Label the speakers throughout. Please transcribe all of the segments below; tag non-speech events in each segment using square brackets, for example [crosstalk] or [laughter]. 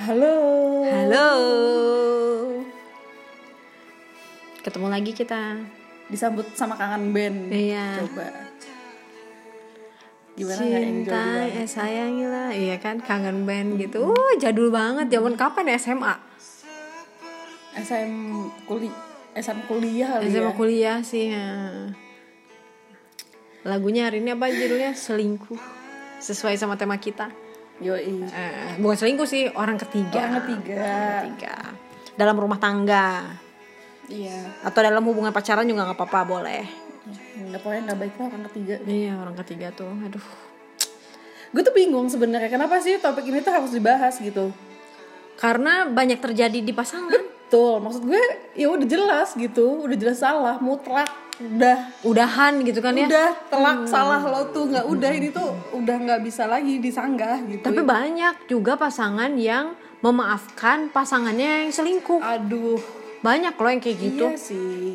Speaker 1: Halo.
Speaker 2: Halo. Ketemu lagi kita.
Speaker 1: Disambut sama kangen band.
Speaker 2: Iya.
Speaker 1: Coba. Gimana nggak enjoy
Speaker 2: Cinta,
Speaker 1: banget?
Speaker 2: eh sayangilah. Iya kan kangen band gitu. Uh, jadul banget. Zaman kapan ya? SMA?
Speaker 1: SM kuli SM kuliah kali
Speaker 2: SMA
Speaker 1: ya.
Speaker 2: kuliah sih. ya. Lagunya hari ini apa judulnya? Selingkuh. Sesuai sama tema kita.
Speaker 1: Yoi. Oh,
Speaker 2: Eh, bukan selingkuh sih, orang
Speaker 1: Orang
Speaker 2: ketiga.
Speaker 1: ketiga.
Speaker 2: Ketiga. Dalam rumah tangga
Speaker 1: Iya.
Speaker 2: atau dalam hubungan pacaran juga nggak apa-apa boleh.
Speaker 1: Nggak pokoknya nggak baik lah orang ketiga.
Speaker 2: Iya, orang ketiga tuh. Aduh.
Speaker 1: Gue tuh bingung sebenarnya kenapa sih topik ini tuh harus dibahas gitu.
Speaker 2: karena banyak terjadi di pasangan
Speaker 1: Betul, maksud gue ya udah jelas gitu, udah jelas salah, mutlak, udah
Speaker 2: udahan gitu kan ya
Speaker 1: udah telak salah lo tuh nggak udah ini tuh udah nggak bisa lagi disanggah gitu.
Speaker 2: tapi banyak juga pasangan yang memaafkan pasangannya yang selingkuh
Speaker 1: aduh
Speaker 2: banyak loh yang kayak gitu
Speaker 1: iya sih.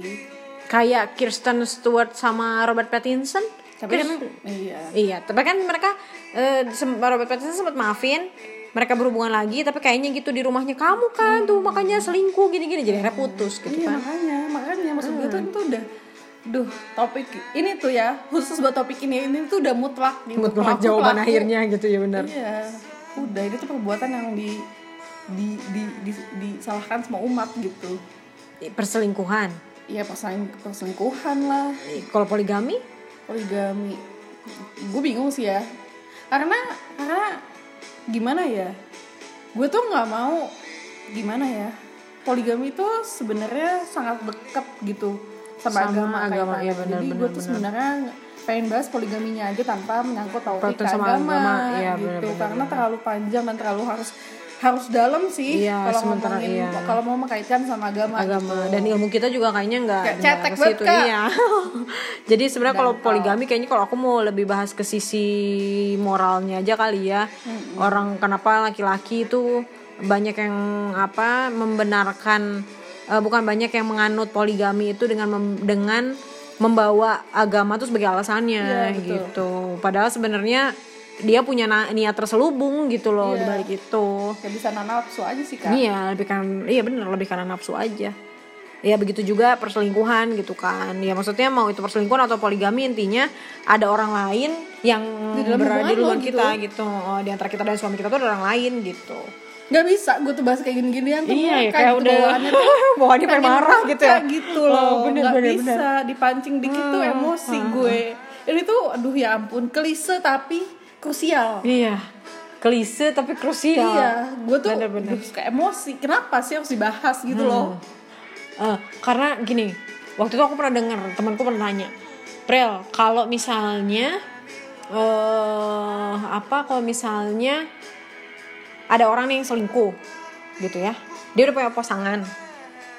Speaker 2: kayak Kirsten Stewart sama Robert Pattinson
Speaker 1: Tapi
Speaker 2: Kirsten-
Speaker 1: emang iya.
Speaker 2: kan, iya tapi kan mereka eh, sem- Robert Pattinson sempat maafin mereka berhubungan lagi tapi kayaknya gitu di rumahnya kamu kan tuh makanya selingkuh gini-gini jadi akhirnya putus gitu
Speaker 1: Iya
Speaker 2: kan
Speaker 1: makanya, makanya maksud gue
Speaker 2: Hmm.
Speaker 1: tuh itu udah Duh, topik ini tuh ya, khusus buat topik ini ini tuh udah mutlak gitu.
Speaker 2: Mutlak
Speaker 1: Pelaku-
Speaker 2: jawaban
Speaker 1: pelaku-
Speaker 2: akhirnya gitu ya benar
Speaker 1: Iya. Udah ini tuh perbuatan yang di di di, di- disalahkan sama umat gitu.
Speaker 2: perselingkuhan
Speaker 1: Iya, perseling, perselingkuhan lah,
Speaker 2: kalau poligami
Speaker 1: poligami. Gue bingung sih ya. Karena karena gimana ya? Gue tuh nggak mau gimana ya? Poligami itu sebenarnya sangat dekat gitu sama,
Speaker 2: Sama
Speaker 1: agama,
Speaker 2: agama,
Speaker 1: kaitannya.
Speaker 2: iya benar,
Speaker 1: Jadi gue
Speaker 2: benar,
Speaker 1: tuh
Speaker 2: benar.
Speaker 1: sebenarnya pengen bahas poligaminya aja tanpa menyangkut tauhid
Speaker 2: Perhatian
Speaker 1: ke
Speaker 2: sama
Speaker 1: agama,
Speaker 2: agama, iya,
Speaker 1: gitu.
Speaker 2: benar, benar,
Speaker 1: Karena terlalu panjang dan terlalu harus harus dalam sih
Speaker 2: Iya,
Speaker 1: kalau
Speaker 2: sementara,
Speaker 1: ngomongin
Speaker 2: iya.
Speaker 1: kalau mau mengkaitkan sama agama,
Speaker 2: agama
Speaker 1: gitu.
Speaker 2: dan ilmu kita juga kayaknya nggak
Speaker 1: Kayak
Speaker 2: nggak
Speaker 1: cetek
Speaker 2: ke situ.
Speaker 1: banget, Kak.
Speaker 2: iya [laughs] jadi sebenarnya kalau poligami kayaknya kalau aku mau lebih bahas ke sisi moralnya aja kali ya orang kenapa laki-laki itu banyak yang apa membenarkan eh, bukan banyak yang menganut poligami itu dengan mem- dengan membawa agama itu sebagai alasannya
Speaker 1: Iya, betul.
Speaker 2: gitu padahal sebenarnya dia punya na- niat terselubung gitu loh
Speaker 1: Iya.
Speaker 2: dibalik itu
Speaker 1: Kayak bisa nafsu aja sih kak.
Speaker 2: Iya, lebih kan iya bener lebih karena nafsu aja. Ya begitu juga perselingkuhan gitu kan. Ya maksudnya mau itu perselingkuhan atau poligami intinya ada orang lain yang
Speaker 1: Di dalam
Speaker 2: berada di
Speaker 1: hubungan
Speaker 2: luar
Speaker 1: lo
Speaker 2: kita gitu. Oh, di antara kita dan suami kita tuh ada orang lain gitu.
Speaker 1: nggak bisa gue tuh bahas kayak gini-ginian tuh
Speaker 2: Iya, ya,
Speaker 1: murka
Speaker 2: kayak
Speaker 1: gitu
Speaker 2: udah- [laughs]
Speaker 1: bawaannya tuh
Speaker 2: bawaannya pengen marah
Speaker 1: murka
Speaker 2: gitu ya.
Speaker 1: gitu
Speaker 2: Oh,
Speaker 1: loh
Speaker 2: bener,
Speaker 1: nggak
Speaker 2: bener, Hmm,
Speaker 1: bisa dipancing dikit tuh emosi gue ini tuh aduh ya ampun kelise tapi krusial
Speaker 2: Iya. Klise tapi krusial.
Speaker 1: iya gue tuh
Speaker 2: Bener-bener.
Speaker 1: aduh, suka emosi kenapa sih harus dibahas gitu
Speaker 2: Hmm.
Speaker 1: loh
Speaker 2: Eh, karena gini, waktu itu aku pernah dengar temanku pernah nanya, Prel, kalau misalnya eh apa kalau misalnya ada orang nih yang selingkuh gitu ya, dia udah punya pasangan,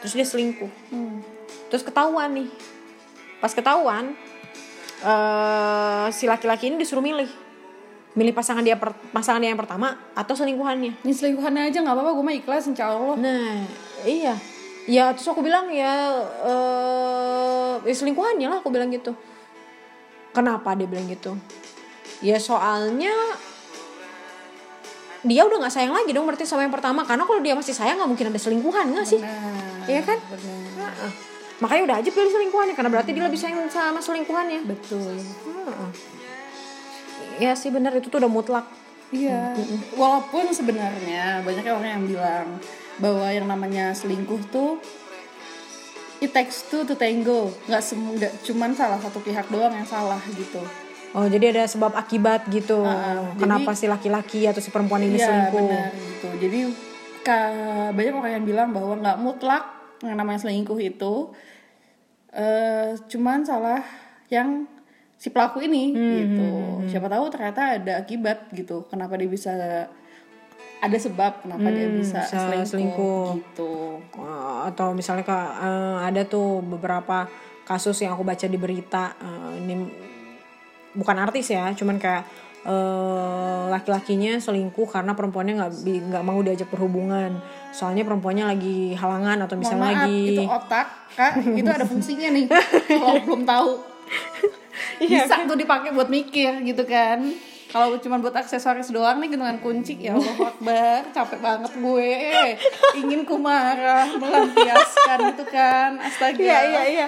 Speaker 2: terus dia selingkuh, terus ketahuan nih, pas ketahuan eh si laki-laki ini disuruh milih, milih pasangan dia per- pasangan dia yang pertama atau selingkuhannya.
Speaker 1: ini selingkuhannya aja nggak apa-apa gue mah ikhlas insya Allah
Speaker 2: Nah, iya. Ya terus aku bilang ya eh ya selingkuhannya lah aku bilang gitu. Kenapa dia bilang gitu? Ya soalnya dia udah nggak sayang lagi dong berarti sama yang pertama karena kalau dia masih sayang nggak mungkin ada selingkuhan nggak sih?
Speaker 1: nah
Speaker 2: Iya kan?
Speaker 1: bener.
Speaker 2: Heeh. Makanya udah aja pilih selingkuhannya karena berarti dia lebih sayang sama selingkuhannya.
Speaker 1: betul
Speaker 2: Heeh. Iya sih benar itu tuh udah mutlak.
Speaker 1: Iya, walaupun sebenarnya banyak orang yang bilang bahwa yang namanya selingkuh tuh it takes two to tango, nggak semudah cuman salah satu pihak doang yang salah gitu.
Speaker 2: Oh jadi ada sebab akibat gitu.
Speaker 1: Heeh, Ah, jadi-
Speaker 2: Kenapa si laki-laki atau si perempuan ini
Speaker 1: Iya
Speaker 2: selingkuh?
Speaker 1: benar gitu. Jadi ka- banyak orang yang bilang bahwa nggak mutlak yang namanya selingkuh itu eh cuman salah yang si pelaku ini
Speaker 2: Hmm,
Speaker 1: gitu. Siapa tahu ternyata ada akibat gitu. Kenapa dia bisa ada sebab kenapa dia bisa,
Speaker 2: Hmm, bisa
Speaker 1: selingkuh,
Speaker 2: selingkuh.
Speaker 1: gitu.
Speaker 2: Uh, atau misalnya Kak, uh, ada tuh beberapa kasus yang aku baca di berita uh, ini m- bukan artis ya cuman kayak uh, laki-lakinya selingkuh karena perempuannya nggak bi- nggak mau diajak berhubungan soalnya perempuannya lagi halangan atau
Speaker 1: Mohon
Speaker 2: misalnya
Speaker 1: maaf,
Speaker 2: lagi
Speaker 1: itu otak kak itu ada fungsinya [laughs] nih Iya, kalau belum tahu bisa tuh dipakai buat mikir gitu kan Kalau cuma buat aksesoris doang nih gantungan kunci ya Allah Akbar, capek banget gue. Ingin ku marah, melampiaskan gitu kan. Astaga.
Speaker 2: Iya iya iya.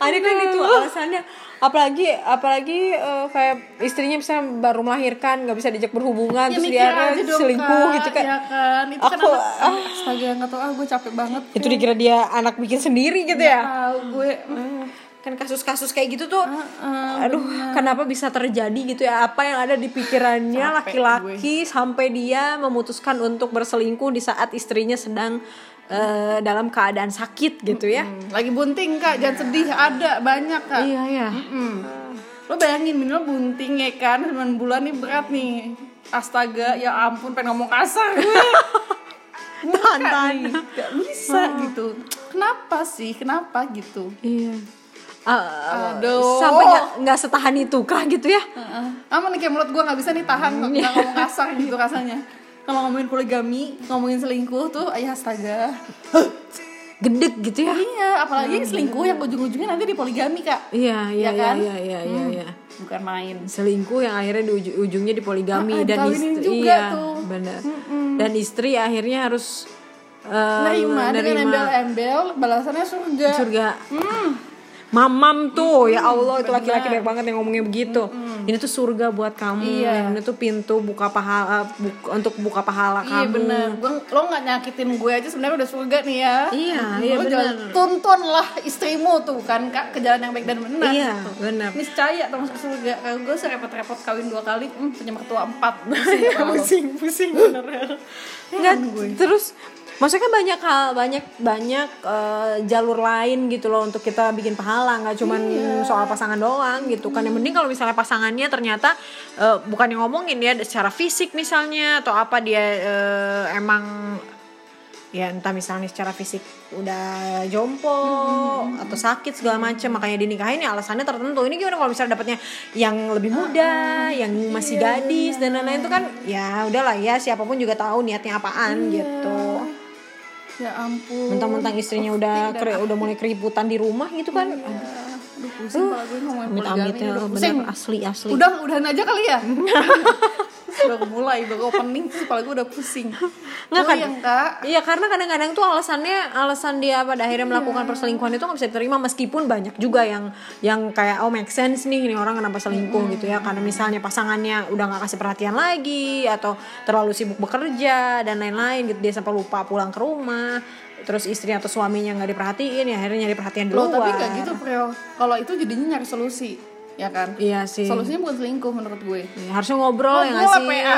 Speaker 2: Ada kan itu alasannya. Apalagi apalagi eh, kayak istrinya bisa baru melahirkan, nggak bisa diajak berhubungan,
Speaker 1: Ya,
Speaker 2: terus
Speaker 1: mikir
Speaker 2: dia
Speaker 1: aja dong,
Speaker 2: selingkuh
Speaker 1: Kak.
Speaker 2: gitu kan.
Speaker 1: Iya kan. Itu kan
Speaker 2: Aku-
Speaker 1: anak- astaga nggak tahu ah gue capek banget.
Speaker 2: Itu dikira dia anak bikin sendiri gitu
Speaker 1: Nggak
Speaker 2: ya.
Speaker 1: Tahu gue. Hmm.
Speaker 2: Kan kasus-kasus kayak gitu tuh
Speaker 1: Heeh.
Speaker 2: Aduh, kenapa bisa terjadi gitu ya? Apa yang ada di pikirannya
Speaker 1: Capek
Speaker 2: laki-laki sampai dia memutuskan untuk berselingkuh di saat istrinya sedang eh, dalam keadaan sakit gitu ya?
Speaker 1: Lagi bunting Kak, jangan sedih, ada banyak Kak.
Speaker 2: Iya ya.
Speaker 1: Mm. Lo bayangin minimal bunting ya kan 9 bulan nih berat nih Astaga ya ampun pengen ngomong kasar gue
Speaker 2: Tahan,
Speaker 1: Nggak
Speaker 2: tahan.
Speaker 1: nih, nggak bisa gitu Kenapa sih kenapa gitu
Speaker 2: Iya. Eh,
Speaker 1: Aduh.
Speaker 2: Sampai nggak- nggak setahan itu kah gitu ya?
Speaker 1: Heeh. Aman nih kayak mulut gue gak bisa nih tahan Kalau nggak ngomong kasar gitu rasanya Kalau ngomongin poligami, ngomongin selingkuh tuh ayah astaga
Speaker 2: Gedek gitu ya?
Speaker 1: Iya apalagi selingkuh yang ujung-ujungnya nanti di poligami kak Iya
Speaker 2: Iya, iya, iya,
Speaker 1: kan?
Speaker 2: iya, iya, iya, iya.
Speaker 1: Bukan main
Speaker 2: selingkuh yang akhirnya di uju- ujungnya di poligami
Speaker 1: Ah, ah,
Speaker 2: dan
Speaker 1: dikawinin
Speaker 2: istri
Speaker 1: juga
Speaker 2: iya,
Speaker 1: tuh.
Speaker 2: benar dan istri akhirnya harus eh,
Speaker 1: Nerima Nah, dengan
Speaker 2: nerima
Speaker 1: embel-embel balasannya surga
Speaker 2: surga
Speaker 1: Hmm.
Speaker 2: mamam tuh ya Allah itu laki-laki banyak banget yang ngomongnya begitu ini tuh surga buat kamu
Speaker 1: Iya.
Speaker 2: ini tuh pintu buka pahala buk- untuk buka pahala
Speaker 1: Iya
Speaker 2: kamu
Speaker 1: bener, Gua, lo nggak nyakitin gue aja sebenarnya udah surga nih ya.
Speaker 2: Iya, iya,
Speaker 1: Lo jangan- tuntunlah istrimu tuh kan kak ke jalan yang baik dan benar.
Speaker 2: iya
Speaker 1: gitu.
Speaker 2: benar
Speaker 1: Niscaya termasuk surga. Kalau gue serepot-repot kawin dua kali, hmm, punya mertua
Speaker 2: [laughs]
Speaker 1: empat. Pusing
Speaker 2: Iya.
Speaker 1: kepala lo.
Speaker 2: pusing bener ya. nggak terus maksudnya kan banyak hal banyak banyak eh, jalur lain gitu loh untuk kita bikin pahala nggak cuman soal pasangan doang gitu kan yang penting kalau misalnya pasangannya ternyata eh, bukan yang ngomongin ya secara fisik misalnya atau apa dia eh, emang ya entah misalnya secara fisik udah jompo atau sakit segala macem makanya dinikahin ya alasannya tertentu ini gimana kalau misalnya dapatnya yang lebih muda yang masih gadis dan lain-lain itu kan ya udahlah ya siapapun juga tahu niatnya apaan gitu
Speaker 1: Ya ampun.
Speaker 2: mentang-mentang istrinya udah keri- udah mulai keributan di rumah gitu kan
Speaker 1: Aduh, pusing kepala gue ngomongin Iya. poligami.
Speaker 2: amit-amitnya
Speaker 1: Udah pusing.
Speaker 2: Uh, ya, bener asli asli
Speaker 1: Udah, udahan aja kali
Speaker 2: [laughs]
Speaker 1: ya. baru mulai, baru opening, terus kepala gue udah pusing.
Speaker 2: Nggak,
Speaker 1: Lo
Speaker 2: kan?
Speaker 1: yang Oh, kak,
Speaker 2: Iya karena kadang-kadang tuh alasannya alasan dia pada akhirnya melakukan perselingkuhan itu nggak bisa diterima meskipun banyak juga yang yang kayak oh make sense nih ini orang kenapa selingkuh gitu ya karena misalnya pasangannya udah nggak kasih perhatian lagi atau terlalu sibuk bekerja dan lain-lain gitu dia sampai lupa pulang ke rumah terus istri atau suaminya nggak diperhatiin ya akhirnya nyari perhatian di
Speaker 1: Loh,
Speaker 2: luar.
Speaker 1: tapi gak gitu, Preo. Kalau itu jadinya nyari solusi, ya kan?
Speaker 2: Iya sih.
Speaker 1: Solusinya bukan selingkuh menurut gue.
Speaker 2: Ya, harusnya ngobrol ya nggak
Speaker 1: Ngobrol
Speaker 2: sih
Speaker 1: apa ya?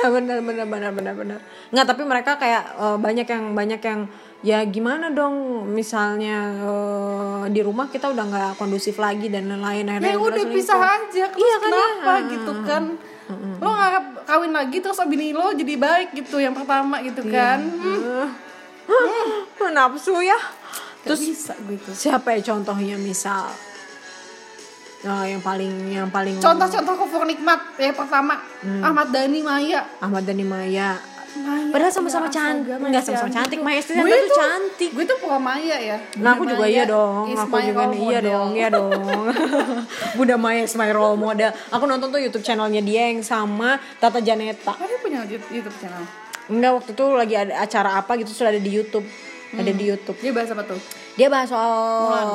Speaker 2: Iya, [laughs] bener bener bener bener bener nggak tapi mereka kayak eh, banyak yang banyak yang ya gimana dong misalnya eh, di rumah kita udah nggak kondusif lagi dan lain-lain akhirnya
Speaker 1: Ya
Speaker 2: yang
Speaker 1: udah
Speaker 2: berhasil
Speaker 1: pisah
Speaker 2: itu.
Speaker 1: aja, terus
Speaker 2: Iya Mm, kan, ya?
Speaker 1: kenapa gitu kan? Lo ngarep kawin lagi terus bini lo jadi baik gitu yang pertama gitu
Speaker 2: Iya.
Speaker 1: kan?
Speaker 2: Mm.
Speaker 1: Hmm,
Speaker 2: Hah, nafsu ya
Speaker 1: nggak
Speaker 2: terus
Speaker 1: bisa gue tuh.
Speaker 2: siapa ya contohnya misal eh, yang paling yang paling
Speaker 1: Contoh-contoh kufur nikmat ya pertama
Speaker 2: Mm.
Speaker 1: Ahmad Dhani Maya.
Speaker 2: Ahmad Dhani Maya
Speaker 1: Maya.
Speaker 2: padahal sama-sama
Speaker 1: ya,
Speaker 2: cantik
Speaker 1: astaga,
Speaker 2: nggak sama-sama
Speaker 1: cantik.
Speaker 2: cantik Maya Estianto
Speaker 1: Gue
Speaker 2: tuh
Speaker 1: tuh-
Speaker 2: cantik
Speaker 1: Gue tuh pura Maya ya.
Speaker 2: Nah aku
Speaker 1: Bunda
Speaker 2: juga
Speaker 1: Maya
Speaker 2: iya dong,
Speaker 1: is
Speaker 2: aku
Speaker 1: my
Speaker 2: juga
Speaker 1: role
Speaker 2: iya
Speaker 1: model.
Speaker 2: dong, iya
Speaker 1: [laughs]
Speaker 2: dong. Bunda Maya is my role model. Aku nonton tuh YouTube channelnya dia yang sama Tata Janeta.
Speaker 1: Kan dia punya YouTube channel.
Speaker 2: Enggak waktu itu lagi ada acara apa gitu sudah ada di YouTube, ada di YouTube.
Speaker 1: Dia bahas apa tuh?
Speaker 2: Dia bahas soal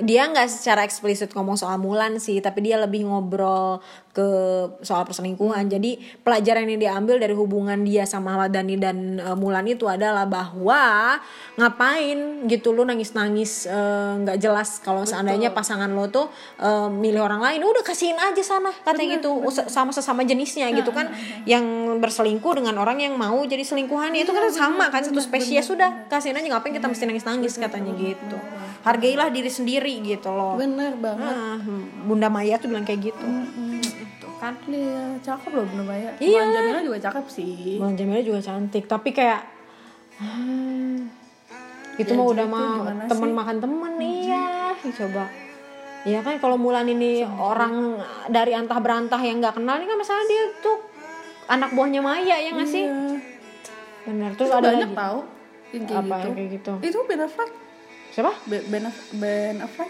Speaker 2: dia nggak secara eksplisit ngomong soal Mulan sih, tapi dia lebih ngobrol ke soal perselingkuhan. Jadi pelajaran yang diambil dari hubungan dia sama Ahmad Dhani dan eh, Mulan itu adalah bahwa ngapain gitu lu nangis-nangis eh, nggak jelas kalau seandainya pasangan lo tuh eh, milih orang lain, udah kasihin aja sana katanya gitu Us- sama sesama jenisnya gitu kan. Yang berselingkuh dengan orang yang mau jadi selingkuhannya itu kan sama kan satu spesies sudah kasihin aja ngapain kita mesti nangis-nangis katanya gitu. Hargailah diri sendiri gitu loh.
Speaker 1: Bener banget.
Speaker 2: Ah, Bunda Maya tuh bilang kayak gitu. Itu kan.
Speaker 1: Mm, Iya, cakep loh Bunda Maya.
Speaker 2: Iya.
Speaker 1: Mulan Jamila juga cakep sih.
Speaker 2: Mulan Jamila juga cantik, tapi kayak hmm, itu
Speaker 1: Ya, jadi
Speaker 2: mah udah
Speaker 1: itu
Speaker 2: mah
Speaker 1: gimana Hmm.
Speaker 2: teman makan temen iya Ih, coba ya kan kalau Mulan ini orang dari antah berantah yang nggak kenal ini kan misalnya dia tuh anak buahnya Maya ya nggak sih benar terus
Speaker 1: Hmm. Itu
Speaker 2: ada
Speaker 1: banyak
Speaker 2: lagi
Speaker 1: tahu yang kayak
Speaker 2: apa yang
Speaker 1: gitu.
Speaker 2: kayak gitu
Speaker 1: Itu Ben Affleck.
Speaker 2: siapa
Speaker 1: Be- Ben, Aff- ben Affleck.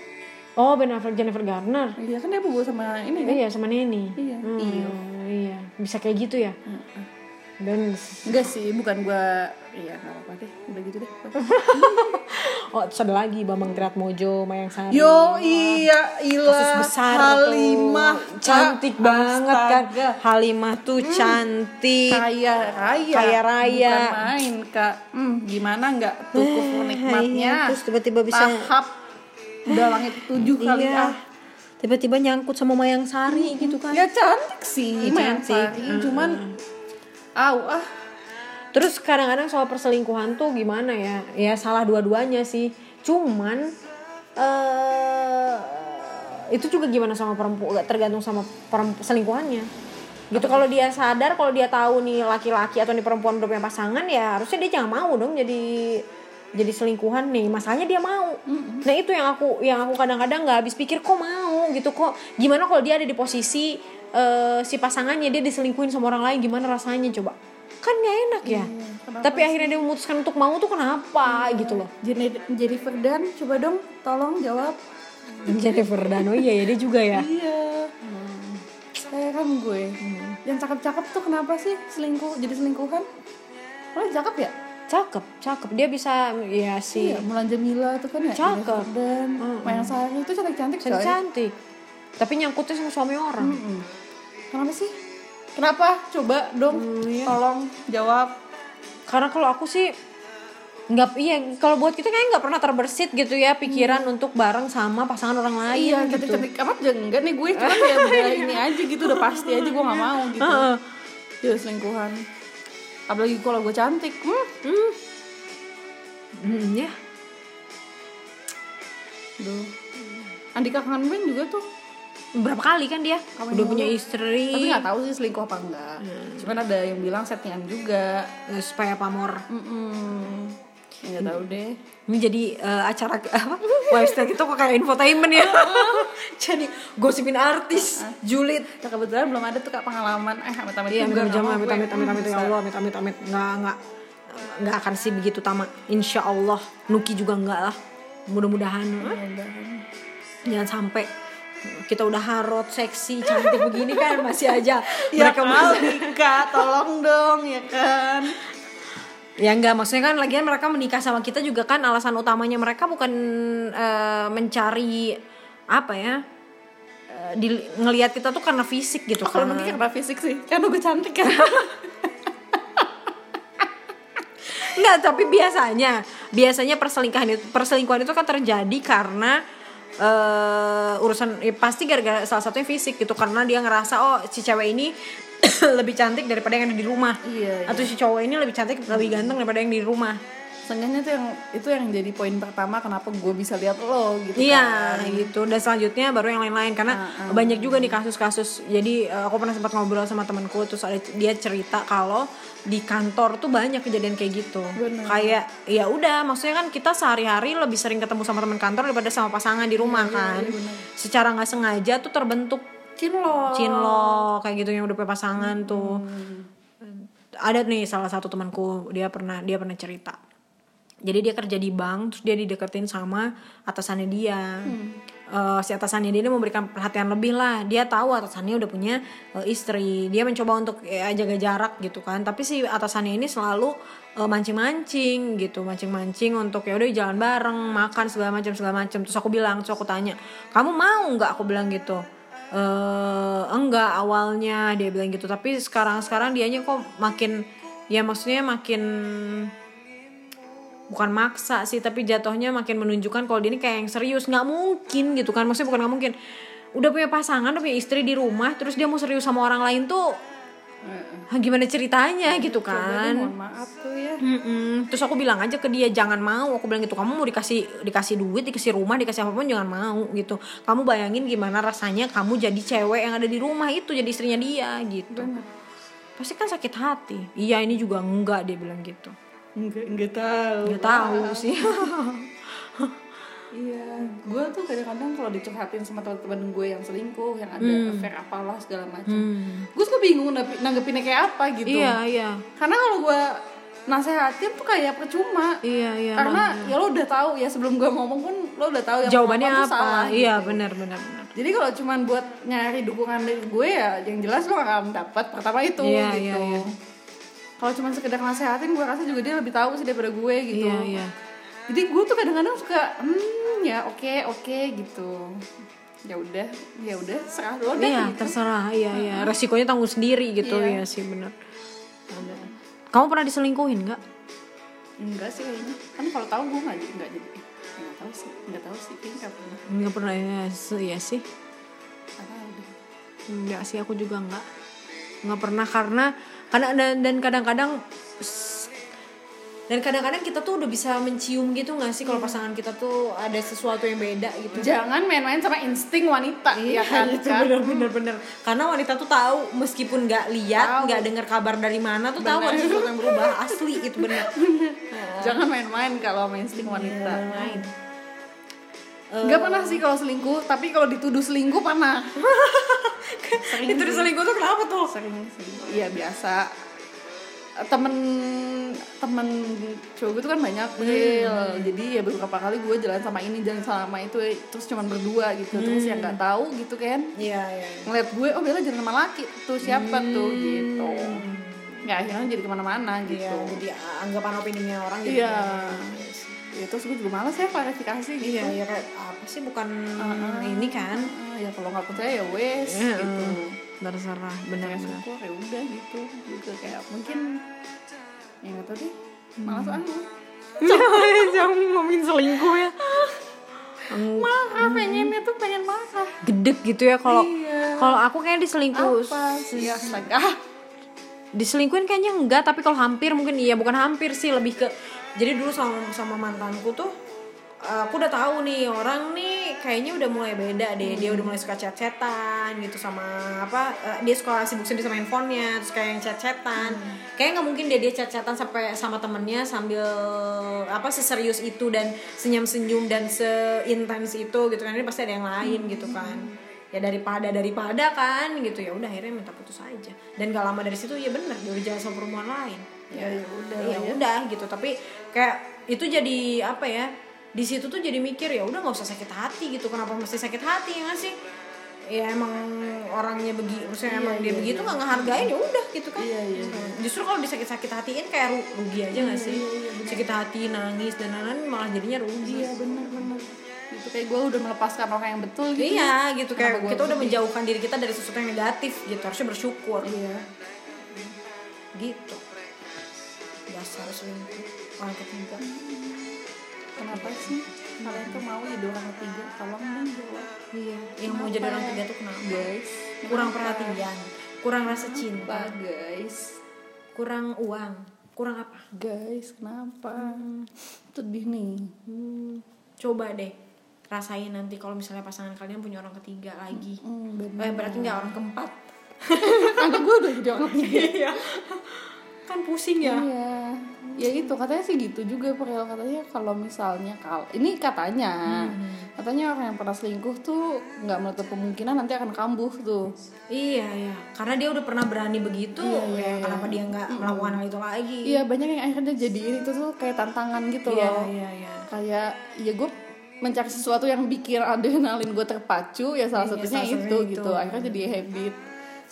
Speaker 2: Oh Ben Affleck Jennifer Garner.
Speaker 1: Iya kan dia bobo sama ini kan?
Speaker 2: Iya sama Neni.
Speaker 1: Iya.
Speaker 2: Hmm,
Speaker 1: Iya.
Speaker 2: iya. Bisa kayak gitu ya. Dan
Speaker 1: Enggak sih, bukan gua iya nggak apa-apa deh, udah gitu deh.
Speaker 2: [laughs] oh terus ada lagi Bambang Triatmojo, Mayang Sari.
Speaker 1: Yo iya
Speaker 2: kasus
Speaker 1: ilah
Speaker 2: besar
Speaker 1: Halimah
Speaker 2: tuh. cantik
Speaker 1: Kak.
Speaker 2: banget kan
Speaker 1: Astaga. Hmm.
Speaker 2: Halimah tuh cantik
Speaker 1: kaya raya
Speaker 2: Kaya raya. Eh,
Speaker 1: bukan main kak hmm, gimana nggak cukup menikmatnya
Speaker 2: iya, terus tiba-tiba bisa-
Speaker 1: tahap udah langit tujuh kali
Speaker 2: iya
Speaker 1: ah
Speaker 2: tiba-tiba nyangkut sama Mayang Sari gitu kan
Speaker 1: ya cantik sih
Speaker 2: Iya,
Speaker 1: main
Speaker 2: cantik.
Speaker 1: sari cuman au ah
Speaker 2: terus kadang-kadang soal perselingkuhan tuh gimana ya ya salah dua-duanya sih cuman eh itu juga gimana sama perempuan tergantung sama perempuan selingkuhannya gitu kalau dia sadar kalau dia tahu nih laki-laki atau nih perempuan udah punya pasangan ya harusnya dia jangan mau dong jadi jadi selingkuhan nih masalahnya dia mau nah itu yang aku yang aku kadang-kadang nggak habis pikir kok mau gitu kok gimana kalau dia ada di posisi eh, si pasangannya dia diselingkuhin sama orang lain gimana rasanya coba kan nggak enak
Speaker 1: Iya,
Speaker 2: ya tapi akhirnya dia memutuskan untuk mau tuh kenapa gitu loh
Speaker 1: jadi jadi Ferdan coba dong tolong jawab
Speaker 2: Jennifer Dano iya ya dia juga ya
Speaker 1: iya heran gue yang cakep-cakep tuh kenapa sih selingkuh jadi selingkuhan lo cakep ya
Speaker 2: cakep cakep dia bisa ya sih
Speaker 1: Iya, Mulan Jamila tuh kan ya
Speaker 2: Cakep.
Speaker 1: Dan Mayang Sari itu cantik-cantik coy.
Speaker 2: cantik tapi nyangkutnya sama suami orang
Speaker 1: Mm-mm. Kenapa sih? Kenapa? Coba dong, tolong jawab.
Speaker 2: karena kalau aku sih nggak iya kalau buat kita kayaknya nggak pernah terbersit gitu ya pikiran untuk bareng sama pasangan orang lain
Speaker 1: Mm. Iya,
Speaker 2: gitu.
Speaker 1: cantik-cantik amat juga enggak nih gue cuman ya udah [laughs] ini aja gitu udah pasti aja gue nggak mau gitu.
Speaker 2: Heeh.
Speaker 1: Jadi selingkuhan. Apalagi kalau gue cantik, hmm,
Speaker 2: Hmm, ya
Speaker 1: Duh. Andika kangen Ben juga tuh,
Speaker 2: berapa kali kan dia udah punya istri
Speaker 1: tapi nggak tahu sih selingkuh apa enggak. Cuman ada yang bilang settingan juga.
Speaker 2: Eh, supaya pamor
Speaker 1: Mm-mm. Nggak tahu deh.
Speaker 2: ini jadi eh, acara [laughs] apa lifestyle kita kok kayak infotainment ya jadi gosipin artis julid
Speaker 1: Nah, kebetulan belum ada tuh kak pengalaman eh amit-amit
Speaker 2: Iya,
Speaker 1: juga
Speaker 2: amit amit
Speaker 1: nggak mau
Speaker 2: amit
Speaker 1: gue.
Speaker 2: amit amit amit ya Allah, amit amit amit nggak nggak nggak akan sih begitu tamat. Insya Allah, Nuki juga nggak lah. Mudah-mudahan
Speaker 1: Mudah-mudahan.
Speaker 2: jangan sampai kita udah harot, seksi, cantik begini kan masih aja
Speaker 1: Ya
Speaker 2: mereka mau.
Speaker 1: kali kak, tolong dong ya kan.
Speaker 2: Ya enggak, maksudnya kan lagian mereka menikah sama kita juga kan alasan utamanya mereka bukan eh, mencari apa ya? eh, di ngelihat kita tuh karena fisik gitu
Speaker 1: Oh, Kalau
Speaker 2: karena-
Speaker 1: mungkin karena fisik sih, karena gue cantik kan.
Speaker 2: Enggak, tapi biasanya biasanya perselingkuhan itu perselingkuhan itu kan terjadi karena eh urusan ya pasti gara-gara salah satunya fisik gitu karena dia ngerasa oh si cewek ini [coughs] lebih cantik daripada yang ada di rumah.
Speaker 1: Iya, iya.
Speaker 2: Atau si cowok ini lebih cantik, lebih ganteng daripada yang di rumah.
Speaker 1: [laughs] Seenggaknya tuh yang itu yang jadi poin pertama kenapa gue bisa lihat lo gitu.
Speaker 2: Iya gitu dan selanjutnya baru yang lain-lain karena banyak juga nih kasus-kasus jadi eh, aku pernah sempat ngobrol sama temanku terus ada dia cerita kalau di kantor tuh banyak kejadian kayak gitu kayak ya udah maksudnya kan kita sehari-hari lebih sering ketemu sama teman kantor daripada sama pasangan di rumah kan secara nggak sengaja tuh terbentuk
Speaker 1: Cinlo.
Speaker 2: cinlok kayak gitu yang udah punya pasangan tuh ada nih salah satu temanku dia pernah dia pernah cerita jadi dia kerja di bank terus dia dideketin sama atasannya dia Eh, si atasannya dia ini memberikan perhatian lebih lah dia tahu atasannya udah punya eh, istri dia mencoba untuk eh, jaga jarak gitu kan tapi si atasannya ini selalu eh, mancing-mancing gitu mancing-mancing untuk ya udah jalan bareng makan segala macam segala macam terus aku bilang terus aku tanya kamu mau nggak aku bilang gitu eh enggak awalnya dia bilang gitu tapi sekarang sekarang dianya kok makin ya maksudnya makin bukan maksa sih tapi jatuhnya makin menunjukkan kalau dia ini kayak yang serius nggak mungkin gitu kan maksudnya bukan nggak mungkin udah punya pasangan udah punya istri di rumah terus dia mau serius sama orang lain tuh hah, gimana ceritanya gitu kan
Speaker 1: Mohon maaf tuh ya.
Speaker 2: Mm-mm. Terus aku bilang aja ke dia jangan mau. Aku bilang gitu kamu mau dikasih dikasih duit, dikasih rumah, dikasih apapun jangan mau gitu. Kamu bayangin gimana rasanya kamu jadi cewek yang ada di rumah itu jadi istrinya dia gitu. Pasti kan sakit hati. Iya ini juga enggak dia bilang gitu.
Speaker 1: Enggak enggak tahu.
Speaker 2: Nggak tahu sih. [laughs]
Speaker 1: Iya, gue tuh kadang-kadang kalau dicurhatin sama teman-teman gue yang selingkuh, yang ada
Speaker 2: Hmm.
Speaker 1: affair apalah segala macam, gue suka bingung nangge- nanggepinnya kayak apa gitu.
Speaker 2: iya iya.
Speaker 1: Karena kalau gue nasehatin tuh kayak percuma
Speaker 2: Iya, iya.
Speaker 1: karena ya lo udah tahu ya sebelum gue ngomong pun lo udah tahu yang
Speaker 2: jawabannya
Speaker 1: ngelakuin
Speaker 2: apa?
Speaker 1: tuh salah gitu.
Speaker 2: Iya, benar benar benar.
Speaker 1: jadi kalau cuman buat nyari dukungan dari gue ya yang jelas lo gak akan dapat pertama itu
Speaker 2: Iya,
Speaker 1: gitu
Speaker 2: iya, iya.
Speaker 1: kalau cuman sekedar nasehatin gue rasa juga dia lebih tahu sih daripada gue gitu
Speaker 2: Iya, iya.
Speaker 1: jadi gue tuh kadang-kadang suka hmm ya oke oke gitu ya udah ya udah serah lo deh
Speaker 2: Iya,
Speaker 1: gitu.
Speaker 2: terserah. Iya, iya. Resikonya tanggung sendiri gitu
Speaker 1: Iya.
Speaker 2: ya sih benar. Ada. Kamu pernah diselingkuhin nggak?
Speaker 1: enggak sih kayaknya kan kalau tahu gue nggak nggak jadi eh, nggak tahu sih nggak tahu sih kayaknya nggak pernah
Speaker 2: Nggak pernah ya, se- ya sih.
Speaker 1: apa udah
Speaker 2: Enggak sih, aku juga enggak. Enggak pernah karena karena dan dan kadang-kadang dan kadang-kadang kita tuh udah bisa mencium gitu nggak sih kalau
Speaker 1: Iya.
Speaker 2: pasangan kita tuh ada sesuatu yang beda gitu.
Speaker 1: jangan main-main sama insting wanita ya kan
Speaker 2: itu
Speaker 1: Kak?
Speaker 2: benar-benar benar. Karena wanita tuh tahu meskipun nggak lihat,
Speaker 1: Tahu.
Speaker 2: nggak dengar kabar dari mana tuh tahu
Speaker 1: Benar.
Speaker 2: ada sesuatu yang berubah asli gitu, itu benar.
Speaker 1: jangan main-main kalau sama insting wanita
Speaker 2: Main.
Speaker 1: nggak pernah sih kalau selingkuh tapi kalau dituduh selingkuh pernah
Speaker 2: Itu diselingkuh tuh kenapa tuh?
Speaker 1: sering sih iya biasa temen temen cowok gue tuh kan banyak
Speaker 2: Hmm.
Speaker 1: Bril. jadi ya beberapa kali gue jalan sama ini jalan sama itu eh, terus cuman berdua gitu terus
Speaker 2: Hmm.
Speaker 1: yang nggak tahu gitu kan
Speaker 2: Iya, iya.
Speaker 1: ngeliat gue oh Bella jalan sama laki tuh siapa
Speaker 2: Hmm.
Speaker 1: tuh gitu nggak akhirnya jadi kemana-mana gitu
Speaker 2: Iya, jadi anggapan opininya orang gitu.
Speaker 1: iya ya, terus gue juga males ya klarifikasi gitu
Speaker 2: Iya, ya kayak apa sih bukan ini kan?
Speaker 1: Ah, ya kalau nggak percaya ya wes
Speaker 2: Iya,
Speaker 1: gitu
Speaker 2: Terserah,
Speaker 1: ya
Speaker 2: benar-benar.
Speaker 1: syukur ya udah gitu gitu kayak mungkin ya nggak tahu deh malas
Speaker 2: Hmm.
Speaker 1: anu. aku
Speaker 2: [laughs] Jangan ngomongin selingkuh ya.
Speaker 1: marah pengennya tuh pengen marah
Speaker 2: Gedek gitu ya kalau
Speaker 1: Iya.
Speaker 2: kalau aku kayak diselingkuh
Speaker 1: apa sih [laughs] ya astaga
Speaker 2: diselingkuhin kayaknya enggak tapi kalau hampir mungkin iya bukan hampir sih lebih ke jadi dulu sama sama mantanku tuh uh, aku udah tahu nih orang nih kayaknya udah mulai beda deh dia udah mulai suka chat-chatan gitu sama apa uh, dia suka sibuk sendiri sama handphonenya terus kayak yang chat-chatan kayak nggak mungkin dia dia chat-chatan sampai sama temennya sambil apa seserius itu dan senyum-senyum dan seintens itu gitu kan ini pasti ada yang lain gitu kan ya daripada daripada kan gitu ya udah akhirnya minta putus aja dan gak lama dari situ ya bener dia udah jalan sama perempuan lain
Speaker 1: ya ya udah
Speaker 2: ya udah gitu tapi kayak itu jadi apa ya di situ tuh jadi mikir ya udah nggak usah sakit hati gitu kenapa mesti sakit hati ya nggak sih ya emang orangnya begitu maksudnya emang dia begitu nggak ngehargain ya udah gitu kan justru kalau disakit-sakit hatiin kayak ru- rugi aja nggak sih sakit hati nangis dan lain-lain malah jadinya
Speaker 1: iya
Speaker 2: rugi
Speaker 1: benar benar itu kayak gue udah melepaskan orang yang betul gitu
Speaker 2: Iya gitu
Speaker 1: Kenapa
Speaker 2: kayak
Speaker 1: gua
Speaker 2: kita udah menjauhkan diri kita dari sesuatu yang negatif gitu harusnya bersyukur
Speaker 1: iya
Speaker 2: gitu dasar selingkuh orang ketiga
Speaker 1: kenapa sih kalian tuh mau jadi orang ketiga tolong dong jawab
Speaker 2: iya yang mau jadi orang ketiga tuh kenapa
Speaker 1: guys
Speaker 2: kurang perhatian kurang rasa cinta
Speaker 1: Pak guys
Speaker 2: kurang uang kurang apa
Speaker 1: guys kenapa Hmm. sedih nih
Speaker 2: Hmm, coba deh rasain nanti kalau misalnya pasangan kalian punya orang ketiga lagi
Speaker 1: hmm, bener. [laughs]
Speaker 2: eh berarti nggak orang keempat
Speaker 1: Nanti gue udah jadi [laughs] orang ketiga
Speaker 2: [laughs] iya kan pusing ya
Speaker 1: Iya. Ya itu katanya sih gitu juga Perel katanya kalau misalnya kalau ini katanya
Speaker 2: Hmm.
Speaker 1: katanya orang yang pernah selingkuh tuh nggak menutup kemungkinan nanti akan kambuh tuh.
Speaker 2: Iya ya, karena dia udah pernah berani begitu, ya, kenapa dia nggak melakukan hal itu lagi?
Speaker 1: Iya banyak yang akhirnya jadiin itu tuh kayak tantangan gitu
Speaker 2: Iya
Speaker 1: loh.
Speaker 2: iya iya.
Speaker 1: Kayak ya gue mencari sesuatu yang bikin adrenalin gue terpacu ya salah satunya
Speaker 2: Iya, salah satunya
Speaker 1: itu
Speaker 2: itu. Hmm.
Speaker 1: gitu. Akhirnya jadi habit,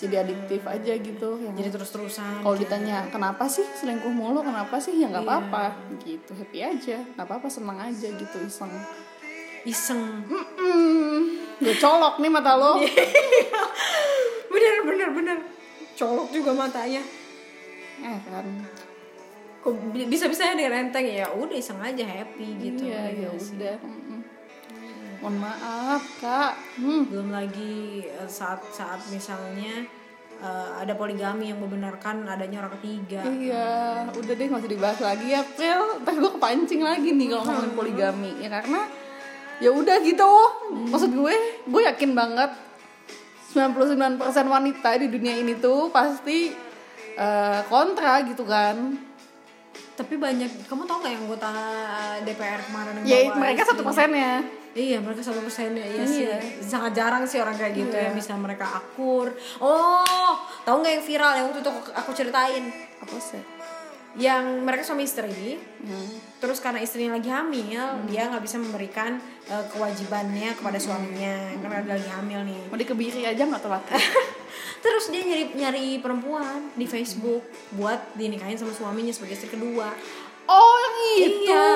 Speaker 1: jadi adiktif aja gitu. Yang
Speaker 2: Jadi Iya. terus terusan.
Speaker 1: kalau ditanya kenapa sih selingkuh mulu kenapa sih ya nggak apa-apa gitu happy aja nggak apa-apa senang aja gitu iseng
Speaker 2: Iseng.
Speaker 1: gue Ya colok nih mata lo
Speaker 2: Bener bener bener. Colok juga matanya.
Speaker 1: eh kan
Speaker 2: Kok bisa bisanya dia renteng ya? Udah iseng aja happy gitu.
Speaker 1: iya ya
Speaker 2: Iya sih.
Speaker 1: udah Mm-mm. mohon maaf kak hmm.
Speaker 2: Belum lagi eh, saat saat misalnya eh, ada poligami yang membenarkan adanya orang ketiga.
Speaker 1: iya udah deh nggak usah dibahas lagi ya Pril ntar gue kepancing lagi nih kalau ngomongin poligami ya karena ya udah gitu maksud gue gue yakin banget 99% wanita di dunia ini tuh pasti eh, kontra gitu kan
Speaker 2: Tapi banyak, kamu tau nggak yang anggota eh, DPR kemarin yang
Speaker 1: Ya
Speaker 2: bawa
Speaker 1: mereka
Speaker 2: isu?
Speaker 1: satu persennya.
Speaker 2: Iya mereka satu persen ya iya sih sangat jarang sih orang kayak gitu ya bisa mereka akur. Oh tahu nggak yang viral yang waktu itu aku, aku ceritain
Speaker 1: Apa sih?
Speaker 2: yang mereka suami istri
Speaker 1: Hmm.
Speaker 2: terus karena istrinya lagi hamil dia nggak bisa memberikan eh, kewajibannya kepada suaminya
Speaker 1: Hmm.
Speaker 2: karena dia lagi hamil nih [laughs]
Speaker 1: Mau dikebiri aja nggak telat.
Speaker 2: terus dia nyari nyari perempuan
Speaker 1: Hmm.
Speaker 2: di Facebook buat dinikahin sama suaminya sebagai istri kedua
Speaker 1: oh yang itu.
Speaker 2: Iya,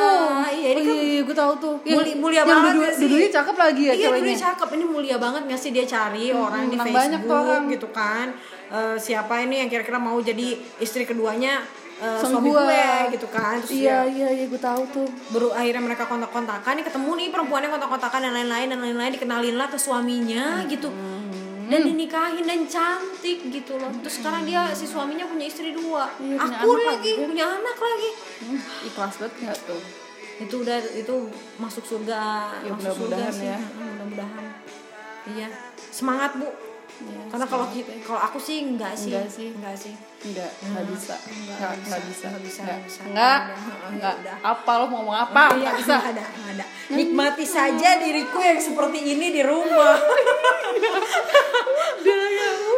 Speaker 2: iya, ini
Speaker 1: Oh, iya, iya, gue tahu tuh.
Speaker 2: Muli- mulia
Speaker 1: yang
Speaker 2: banget
Speaker 1: dudu-
Speaker 2: gak sih?
Speaker 1: dudunya cakep lagi ya
Speaker 2: iya
Speaker 1: ceweknya.
Speaker 2: dia cakep ini mulia banget nggak sih dia cari orang di
Speaker 1: menang
Speaker 2: Facebook
Speaker 1: banyak tuh orang.
Speaker 2: gitu kan Eh, siapa ini yang kira-kira mau jadi istri keduanya eh,
Speaker 1: Suami
Speaker 2: suami
Speaker 1: gua.
Speaker 2: gue gitu kan terus
Speaker 1: Iya
Speaker 2: ya,
Speaker 1: iya iya gue tahu tuh.
Speaker 2: baru akhirnya mereka kontak-kontakan nih ketemu nih perempuannya kontak-kontakan dan lain-lain dan lain-lain dikenalin lah ke suaminya gitu
Speaker 1: Hmm.
Speaker 2: dan dinikahin dan cantik gitu loh terus sekarang dia si suaminya punya istri dua
Speaker 1: Iya, punya
Speaker 2: aku
Speaker 1: anak
Speaker 2: lagi punya anak lagi
Speaker 1: Hmm, ikhlas banget nggak tuh?
Speaker 2: itu udah itu masuk surga
Speaker 1: Ya,
Speaker 2: masuk surga
Speaker 1: mudah-mudahan
Speaker 2: sih
Speaker 1: ya.
Speaker 2: Mm, mudah-mudahan iya semangat bu
Speaker 1: Iya,
Speaker 2: karena kalau kita kalau aku sih enggak sih
Speaker 1: Enggak sih.
Speaker 2: enggak sih
Speaker 1: Enggak, enggak bisa.
Speaker 2: enggak,
Speaker 1: Enggak,
Speaker 2: enggak
Speaker 1: enggak
Speaker 2: bisa,
Speaker 1: bisa.
Speaker 2: enggak bisa,
Speaker 1: Enggak.
Speaker 2: enggak bisa.
Speaker 1: Enggak.
Speaker 2: Udah,
Speaker 1: Enggak.
Speaker 2: udah.
Speaker 1: Apa lo mau ngomong apa? Enggak Iya, bisa.
Speaker 2: Nggak ada nggak ada nikmati saja diriku yang seperti ini di rumah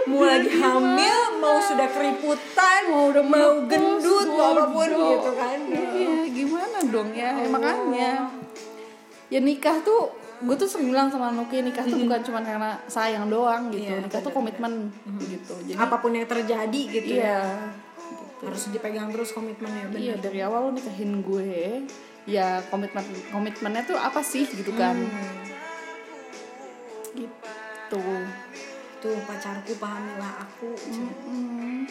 Speaker 2: mau lagi hamil mau sudah keriputan mau udah mau gendut mau apapun
Speaker 1: bodoh.
Speaker 2: gitu kan
Speaker 1: Iya, gimana dong ya? Ya, makanya. Ya nikah tuh gue tuh sering bilang sama Nuki nikah tuh bukan cuma karena sayang doang gitu.
Speaker 2: Iya,
Speaker 1: nikah tuh komitmen gitu. Jadi
Speaker 2: apapun yang terjadi gitu
Speaker 1: iya.
Speaker 2: ya harus dipegang terus komitmennya bener
Speaker 1: Iya, dari awal lo nikahin gue. Ya komitmen komitmennya tuh apa sih gitu kan?
Speaker 2: Hmm.
Speaker 1: Gitu.
Speaker 2: tuh pacarku pahamilah aku
Speaker 1: Hmm.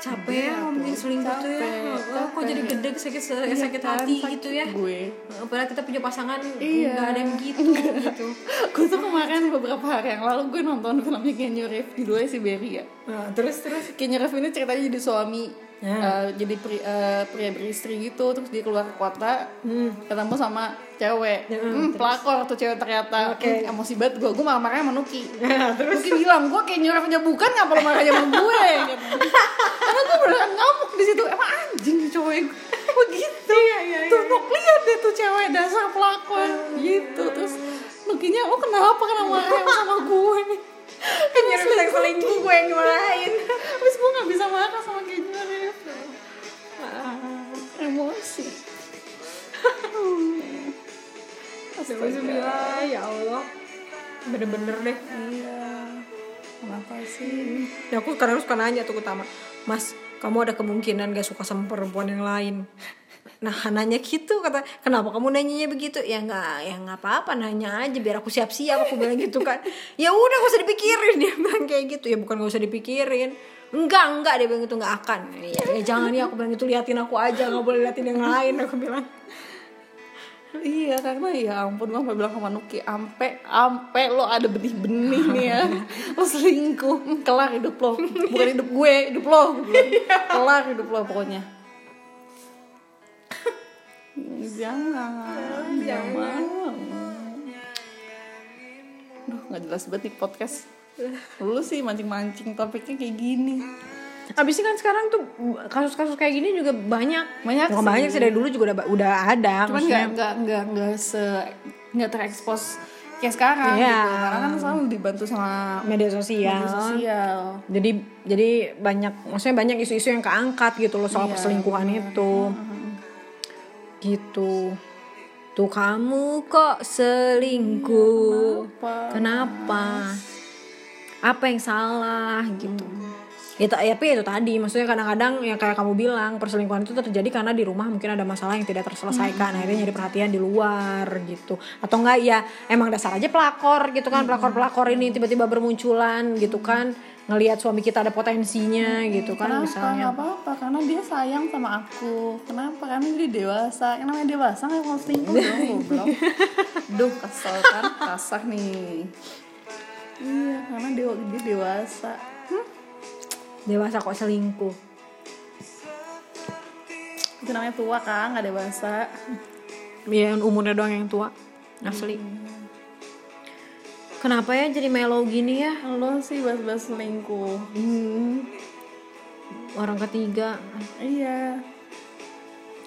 Speaker 2: capek ya ngomongin selingkuh tuh
Speaker 1: Capek,
Speaker 2: ya
Speaker 1: kan,
Speaker 2: Heeh, kok jadi gede sakit sakit hati gitu ya
Speaker 1: Iya Gue.
Speaker 2: Heeh, padahal kita punya pasangan
Speaker 1: Iya.
Speaker 2: nggak ada yang gitu gitu
Speaker 1: gue tuh kemarin beberapa hari yang lalu gue nonton filmnya Keanu Reeves judulnya Siberia
Speaker 2: Nah, terus terus
Speaker 1: Keanu Reeves ini ceritanya jadi suami
Speaker 2: Ya.
Speaker 1: eh, jadi pri- eh, pria beristri gitu terus dia keluar ke kota
Speaker 2: Hmm. [laughs]
Speaker 1: ketemu sama cewek Hmm, pelakor tuh cewek ternyata
Speaker 2: Ya, Oke.
Speaker 1: Hmm, emosi banget gue gue marah-marahnya sama Nuki
Speaker 2: [laughs] Nah,
Speaker 1: Nuki bilang gue Keanu Reeves aja bukan ngapa lo marahnya sama gue gitu. karena gue beneran ngamuk di situ emang anjing cowok gue begitu
Speaker 2: Iya, iya, iya.
Speaker 1: tuh Nuk, lihat deh tuh cewek dasar pelakon gitu terus Nukinya lo kenapa kenapa marah sama gue kan
Speaker 2: Kenyur bilang selingkuh gue yang dimarahin
Speaker 1: Terus gue gak bisa marah sama Keanu Reeves Ah, Emosi
Speaker 2: terus bilang ya Allah bener-bener deh
Speaker 1: Iya Kenapa sih?
Speaker 2: ya aku kadang suka nanya tuh ke Tama Mas kamu ada kemungkinan gak suka sama perempuan yang lain [laughs] nah nanya gitu kata kenapa kamu nanyanya begitu ya nggak ya nggak apa-apa nanya aja biar aku siap-siap aku bilang gitu kan [laughs] ya udah gak usah dipikirin [laughs] dia bilang kayak gitu ya bukan gak usah dipikirin enggak enggak dia bilang gitu nggak akan ya, ya jangan ya aku bilang gitu liatin aku aja nggak boleh liatin yang lain aku bilang
Speaker 1: Iya karena ya ampun gue sampai bilang sama Nuki Ampe, ampe lo ada benih-benih nih ya Lo selingkuh, Hmm, kelar hidup lo Bukan hidup gue, hidup lo Gua bilang. Kelar hidup lo pokoknya Jangan Jangan Duh gak jelas banget nih podcast Lu sih mancing-mancing topiknya kayak gini
Speaker 2: Abisnya kan sekarang tuh kasus-kasus kayak gini juga banyak
Speaker 1: Banyak
Speaker 2: Bukan
Speaker 1: sih.
Speaker 2: banyak sih dari dulu juga udah udah ada
Speaker 1: cuman nggak nggak nggak nggak se nggak terekspos kayak sekarang
Speaker 2: Iya.
Speaker 1: gitu karena kan selalu dibantu sama
Speaker 2: media sosial.
Speaker 1: media sosial
Speaker 2: Jadi jadi banyak maksudnya banyak isu-isu yang keangkat gitu loh soal perselingkuhan itu. Gitu. Tuh kamu kok selingkuh?
Speaker 1: Kenapa,
Speaker 2: Kenapa? Apa yang salah gitu. Ya, ta- ya, tapi itu tadi maksudnya kadang-kadang ya kayak kamu bilang perselingkuhan itu terjadi karena di rumah mungkin ada masalah yang tidak terselesaikan akhirnya jadi perhatian di luar gitu atau enggak ya emang dasar aja pelakor gitu kan pelakor-pelakor ini tiba-tiba bermunculan gitu kan ngelihat suami kita ada potensinya gitu kan
Speaker 1: kenapa
Speaker 2: misalnya
Speaker 1: nggak apa-apa karena dia sayang sama aku kenapa karena dia dewasa yang namanya dewasa nggak mau selingkuh dong goblok duh kesel kan kasar nih iya karena dia dia dewasa hmm?
Speaker 2: dewasa kok selingkuh
Speaker 1: itu namanya tua kan nggak dewasa
Speaker 2: ya umurnya doang yang tua asli kenapa ya jadi mellow gini ya
Speaker 1: lo sih bahas-bahas selingkuh Hmm.
Speaker 2: orang ketiga
Speaker 1: iya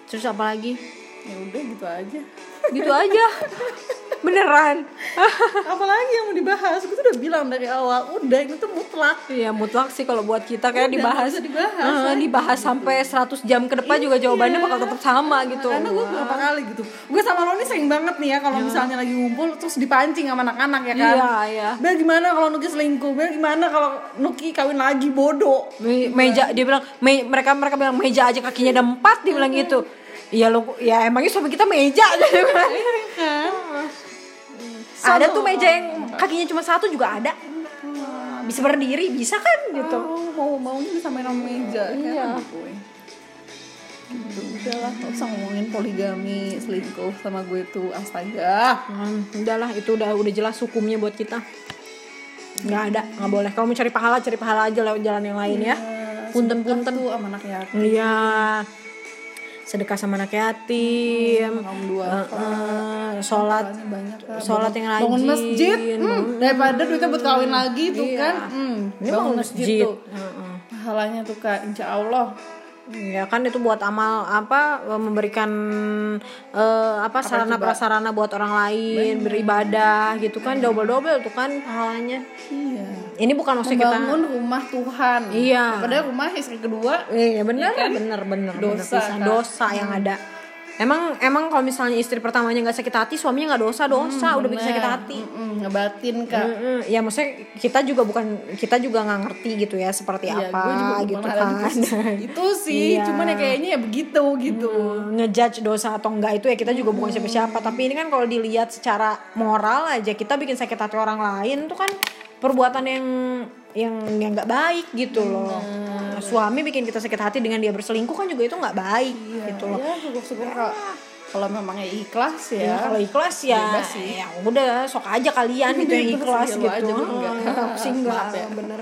Speaker 2: terus apa lagi
Speaker 1: ya udah gitu aja
Speaker 2: gitu [laughs] aja beneran
Speaker 1: [laughs] apalagi yang mau dibahas gue tuh udah bilang dari awal udah ini tuh mutlak
Speaker 2: Iya mutlak sih kalau buat kita kayak
Speaker 1: Udah, nggak
Speaker 2: dibahas Iya.
Speaker 1: usah dibahas,
Speaker 2: Eh,
Speaker 1: lah,
Speaker 2: dibahas sampai 100 jam ke depan juga jawabannya bakal tetap sama gitu.
Speaker 1: karena gue beberapa kali gitu gue sama lo nih sering banget nih ya kalau misalnya lagi ngumpul terus dipancing sama anak-anak ya kan
Speaker 2: Iya, iya.
Speaker 1: Bel gimana kalau Nuki selingkuh Bel gimana kalau Nuki kawin lagi bodoh
Speaker 2: Me- meja dia bilang me- mereka mereka bilang meja aja kakinya ada empat dia bilang gitu. Iya lo ya emangnya suami kita meja [laughs] gitu kan. ada tuh meja yang kakinya cuma satu juga ada. Bisa berdiri bisa kan gitu.
Speaker 1: Oh, mau maunya bisa main sama meja iya. gue gitu udahlah nggak usah ngomongin poligami selingkuh sama gue tuh astaga
Speaker 2: Hmm, udahlah itu udah udah jelas hukumnya buat kita. Nggak ada, nggak boleh. Kalau mau cari pahala, cari pahala aja lewat jalan yang lain ya. Punten-punten.
Speaker 1: Eh, tuh sama anak ya
Speaker 2: Iya. Sedekah sama anak yatim.
Speaker 1: kaum dua
Speaker 2: Heeh, sholat
Speaker 1: banyak lah.
Speaker 2: sholat yang rajin.
Speaker 1: bangun masjid hmm, daripada duitnya buat kawin lagi tuh
Speaker 2: Iya.
Speaker 1: kan hmm,
Speaker 2: Ini
Speaker 1: bangun
Speaker 2: bangun
Speaker 1: masjid,
Speaker 2: masjid.
Speaker 1: tuh
Speaker 2: Heeh.
Speaker 1: pahalanya tuh kak insya Allah
Speaker 2: Ya kan itu buat amal apa memberikan eh, apa sarana prasarana buat orang lain beribadah gitu kan double-double tuh kan pahalanya.
Speaker 1: iya
Speaker 2: Ini bukan maksud Ya, kita
Speaker 1: bangun rumah Tuhan
Speaker 2: Iya.
Speaker 1: daripada rumah istri kedua
Speaker 2: Iya bener bener bener
Speaker 1: kan? Dosa,
Speaker 2: bener, pisah.
Speaker 1: kan?
Speaker 2: dosa yang ada. Emang emang kalau misalnya istri pertamanya nggak sakit hati, suaminya nggak dosa dosa
Speaker 1: Hmm,
Speaker 2: udah bikin sakit hati.
Speaker 1: Mm-mm, ngebatin kak
Speaker 2: Mm-mm. Ya maksudnya kita juga bukan kita juga nggak ngerti gitu ya seperti
Speaker 1: Iya,
Speaker 2: apa
Speaker 1: gue juga
Speaker 2: gitu
Speaker 1: pernah ada
Speaker 2: kan.
Speaker 1: di posisi [laughs] itu sih
Speaker 2: Iya.
Speaker 1: cuman ya kayaknya ya begitu gitu
Speaker 2: [laughs] Ngejudge dosa atau enggak itu ya kita juga
Speaker 1: Hmm.
Speaker 2: bukan siapa-siapa. Tapi ini kan kalau dilihat secara moral aja kita bikin sakit hati orang lain itu kan perbuatan yang yang yang nggak baik gitu
Speaker 1: Hmm.
Speaker 2: loh. Suami bikin kita sakit hati dengan dia berselingkuh kan juga itu nggak baik gitu loh.
Speaker 1: ya syukur-syukur kak kalau memangnya ikhlas ya,
Speaker 2: Ya, kalau ikhlas ya,
Speaker 1: Bebas sih.
Speaker 2: ya udah sok aja
Speaker 1: [laughs]
Speaker 2: kalian gitu yang
Speaker 1: Bebas,
Speaker 2: ikhlas
Speaker 1: iya, lo
Speaker 2: gitu.
Speaker 1: aja, gue enggak.
Speaker 2: Aku sih
Speaker 1: [laughs]
Speaker 2: enggak,
Speaker 1: Maaf ya.
Speaker 2: bener.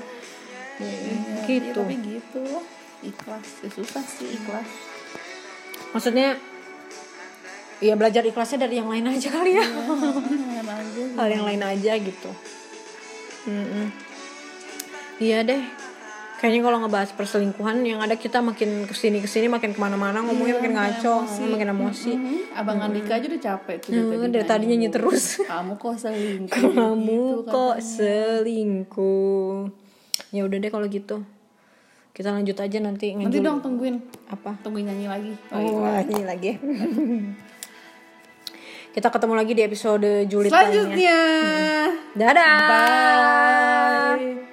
Speaker 1: Iya,
Speaker 2: Gitu.
Speaker 1: tapi gitu lah. ikhlas ya, susah sih ikhlas
Speaker 2: [laughs] Maksudnya ya belajar ikhlasnya dari yang lain aja kali ya.
Speaker 1: Jangan aja.
Speaker 2: Hal yang lain aja gitu. Mm-mm. Iya deh. Kayaknya kalau ngebahas perselingkuhan yang ada kita makin kesini kesini makin kemana-mana ngomongnya Iya, makin ngaco, makin emosi.
Speaker 1: Abang Andika aja udah capek tuh Nah,
Speaker 2: Eh, Dari tadi Gitu kan. nyanyi [laughs] terus.
Speaker 1: Kamu kok selingkuh
Speaker 2: Kamu kok selingkuh. Ya udah deh kalau gitu. Kita lanjut aja nanti
Speaker 1: Nanti
Speaker 2: ngejul
Speaker 1: dong tungguin
Speaker 2: apa?
Speaker 1: Tungguin nyanyi lagi iya.
Speaker 2: Oh, ini lagi. Kita ketemu lagi di episode Juli
Speaker 1: Selanjutnya
Speaker 2: Dadah.
Speaker 1: Bye